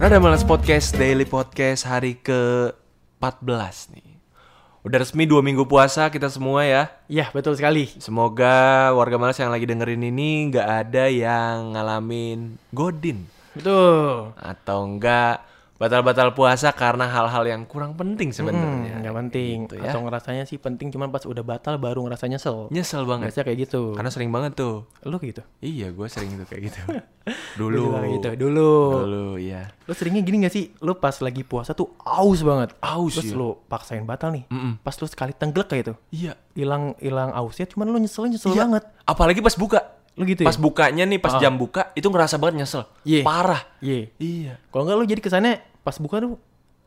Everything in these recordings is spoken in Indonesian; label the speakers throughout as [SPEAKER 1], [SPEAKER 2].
[SPEAKER 1] Rada Malas Podcast, Daily Podcast hari ke-14 nih. Udah resmi dua minggu puasa kita semua ya.
[SPEAKER 2] Ya, betul sekali.
[SPEAKER 1] Semoga warga malas yang lagi dengerin ini nggak ada yang ngalamin godin.
[SPEAKER 2] Betul.
[SPEAKER 1] Atau enggak batal-batal puasa karena hal-hal yang kurang penting sebenarnya.
[SPEAKER 2] Hmm, nggak penting.
[SPEAKER 1] Gitu ya.
[SPEAKER 2] Atau ngerasanya sih penting, cuman pas udah batal baru ngerasa nyesel.
[SPEAKER 1] Nyesel banget.
[SPEAKER 2] Biasanya kayak gitu.
[SPEAKER 1] Karena sering banget tuh.
[SPEAKER 2] Lu kayak gitu?
[SPEAKER 1] Iya, gue sering tuh kayak gitu.
[SPEAKER 2] Lu
[SPEAKER 1] Dulu.
[SPEAKER 2] juga kayak gitu. Dulu.
[SPEAKER 1] Dulu, iya.
[SPEAKER 2] Lu seringnya gini gak sih? Lu pas lagi puasa tuh aus banget.
[SPEAKER 1] Aus, iya.
[SPEAKER 2] Terus lu paksain batal nih.
[SPEAKER 1] Mm-mm.
[SPEAKER 2] Pas lu sekali tenggelek kayak itu.
[SPEAKER 1] Iya.
[SPEAKER 2] Hilang hilang ausnya, cuman lu nyeselnya nyesel
[SPEAKER 1] Iya.
[SPEAKER 2] banget.
[SPEAKER 1] Apalagi pas buka.
[SPEAKER 2] Lu gitu
[SPEAKER 1] Pas
[SPEAKER 2] ya?
[SPEAKER 1] bukanya nih, pas
[SPEAKER 2] Ah.
[SPEAKER 1] jam buka, itu ngerasa banget nyesel.
[SPEAKER 2] Iya.
[SPEAKER 1] Parah.
[SPEAKER 2] Iya.
[SPEAKER 1] Iya.
[SPEAKER 2] Kalau enggak lu jadi kesannya pas buka tuh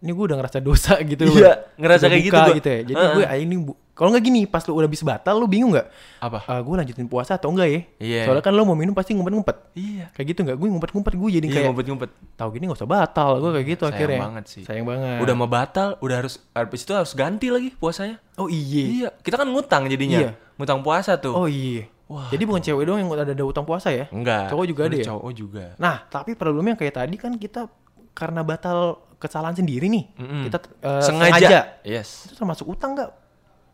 [SPEAKER 2] ini gue udah ngerasa dosa gitu
[SPEAKER 1] Iya,
[SPEAKER 2] Bang.
[SPEAKER 1] ngerasa
[SPEAKER 2] Udah
[SPEAKER 1] kayak gitu
[SPEAKER 2] buka
[SPEAKER 1] gua.
[SPEAKER 2] ya. Jadi
[SPEAKER 1] Heeh.
[SPEAKER 2] gue ah, ini bu- kalau nggak gini, pas lu udah habis batal lu bingung nggak?
[SPEAKER 1] Apa?
[SPEAKER 2] Ah, gue lanjutin puasa atau enggak ya?
[SPEAKER 1] Iya.
[SPEAKER 2] Soalnya kan lu mau minum pasti ngumpet-ngumpet.
[SPEAKER 1] Iya.
[SPEAKER 2] Kayak gitu nggak? Gue ngumpet-ngumpet gue jadi
[SPEAKER 1] Iya,
[SPEAKER 2] kayak
[SPEAKER 1] ngumpet-ngumpet.
[SPEAKER 2] tahu gini nggak usah batal gue kayak gitu
[SPEAKER 1] Sayang
[SPEAKER 2] akhirnya.
[SPEAKER 1] banget sih.
[SPEAKER 2] Sayang banget.
[SPEAKER 1] Udah mau batal, udah harus habis itu harus ganti lagi puasanya.
[SPEAKER 2] Oh iya.
[SPEAKER 1] Iya, kita kan ngutang jadinya.
[SPEAKER 2] Iya.
[SPEAKER 1] Ngutang puasa tuh.
[SPEAKER 2] Oh iya.
[SPEAKER 1] Wah.
[SPEAKER 2] Jadi bukan cewek doang yang ada ada utang puasa ya?
[SPEAKER 1] Enggak.
[SPEAKER 2] Cowok juga
[SPEAKER 1] Dulu
[SPEAKER 2] ada ya?
[SPEAKER 1] Cowok juga.
[SPEAKER 2] Nah, tapi problemnya kayak tadi kan kita karena batal kesalahan sendiri nih.
[SPEAKER 1] Mm-mm.
[SPEAKER 2] Kita eh,
[SPEAKER 1] sengaja. Yes.
[SPEAKER 2] Itu termasuk utang nggak?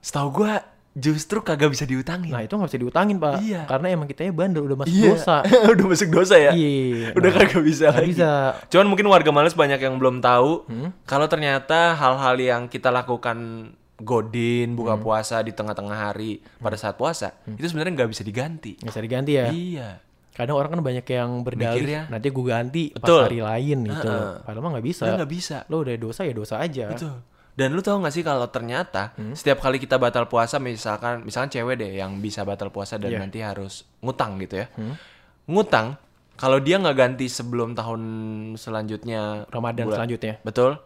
[SPEAKER 1] Setahu gua justru kagak bisa diutangin.
[SPEAKER 2] Nah, itu nggak bisa diutangin, Pak.
[SPEAKER 1] Iya.
[SPEAKER 2] Karena emang kitanya bandel udah masuk
[SPEAKER 1] Iya.
[SPEAKER 2] dosa.
[SPEAKER 1] Udah masuk dosa ya?
[SPEAKER 2] Iya.
[SPEAKER 1] Udah
[SPEAKER 2] Nah,
[SPEAKER 1] kagak bisa
[SPEAKER 2] nggak
[SPEAKER 1] lagi.
[SPEAKER 2] bisa.
[SPEAKER 1] Cuman mungkin warga males banyak yang belum tahu
[SPEAKER 2] Hmm?
[SPEAKER 1] kalau ternyata hal-hal yang kita lakukan godin, buka
[SPEAKER 2] Hmm.
[SPEAKER 1] puasa di tengah-tengah hari pada saat puasa, itu sebenarnya nggak bisa diganti.
[SPEAKER 2] Nggak bisa diganti Hmm. ya.
[SPEAKER 1] Iya.
[SPEAKER 2] Kadang orang kan banyak yang berdalih,
[SPEAKER 1] Mikirnya.
[SPEAKER 2] nanti gue ganti
[SPEAKER 1] Betul.
[SPEAKER 2] pas hari lain gitu.
[SPEAKER 1] Heeh.
[SPEAKER 2] Padahal mah nggak bisa.
[SPEAKER 1] Udah nggak bisa.
[SPEAKER 2] Lo udah dosa ya dosa aja.
[SPEAKER 1] Betul. Dan lu tau gak sih kalau ternyata
[SPEAKER 2] Hmm?
[SPEAKER 1] setiap kali kita batal puasa misalkan misalkan cewek deh yang bisa batal puasa dan
[SPEAKER 2] Iya.
[SPEAKER 1] nanti harus ngutang gitu ya.
[SPEAKER 2] Hmm?
[SPEAKER 1] Ngutang kalau dia nggak ganti sebelum tahun selanjutnya
[SPEAKER 2] Ramadan
[SPEAKER 1] bulan-
[SPEAKER 2] selanjutnya.
[SPEAKER 1] Betul.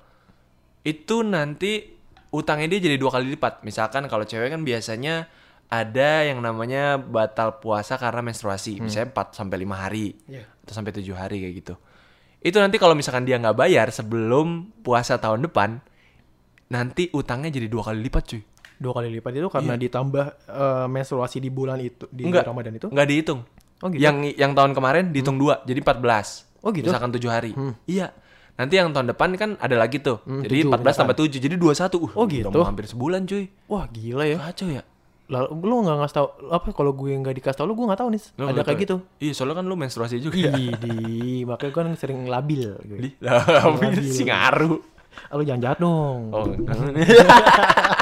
[SPEAKER 1] Itu nanti utangnya dia jadi dua kali lipat. Misalkan kalau cewek kan biasanya ada yang namanya batal puasa karena menstruasi, misalnya 4 sampai 5 hari
[SPEAKER 2] Hmm. Iya.
[SPEAKER 1] atau sampai 7 hari kayak gitu. Itu nanti kalau misalkan dia nggak bayar sebelum puasa tahun depan, nanti utangnya jadi dua kali lipat, cuy.
[SPEAKER 2] Dua kali lipat itu karena ditambah eh, menstruasi di bulan itu di
[SPEAKER 1] Iya. Enggak.
[SPEAKER 2] Ramadan itu.
[SPEAKER 1] Nggak dihitung.
[SPEAKER 2] Oh, gitu? Hmm.
[SPEAKER 1] Yang yang tahun kemarin dihitung dua, jadi 14.
[SPEAKER 2] Oh, gitu?
[SPEAKER 1] Misalkan 7 hari. Iya. Nanti yang tahun depan kan ada lagi tuh. jadi
[SPEAKER 2] Hmm, tujuh,
[SPEAKER 1] 14 tambah 7 jadi 21. Uh,
[SPEAKER 2] Oh,
[SPEAKER 1] udah
[SPEAKER 2] gitu?
[SPEAKER 1] mau hampir sebulan, cuy.
[SPEAKER 2] Wah, gila ya.
[SPEAKER 1] Kacau ya.
[SPEAKER 2] Lalu lo nggak ngasih tau apa kalau gue nggak dikasih tau lo gue nggak tahu nih
[SPEAKER 1] Lu
[SPEAKER 2] ada
[SPEAKER 1] nggak tahu.
[SPEAKER 2] kayak gitu. Iya.
[SPEAKER 1] Iya, soalnya kan lu menstruasi juga. ya.
[SPEAKER 2] Ih, di makanya gue kan sering labil. gitu. Gue.
[SPEAKER 1] Di- Lah, habis sih ngaruh.
[SPEAKER 2] Ah, Lu jangan jahat dong.
[SPEAKER 1] Oh, enggak.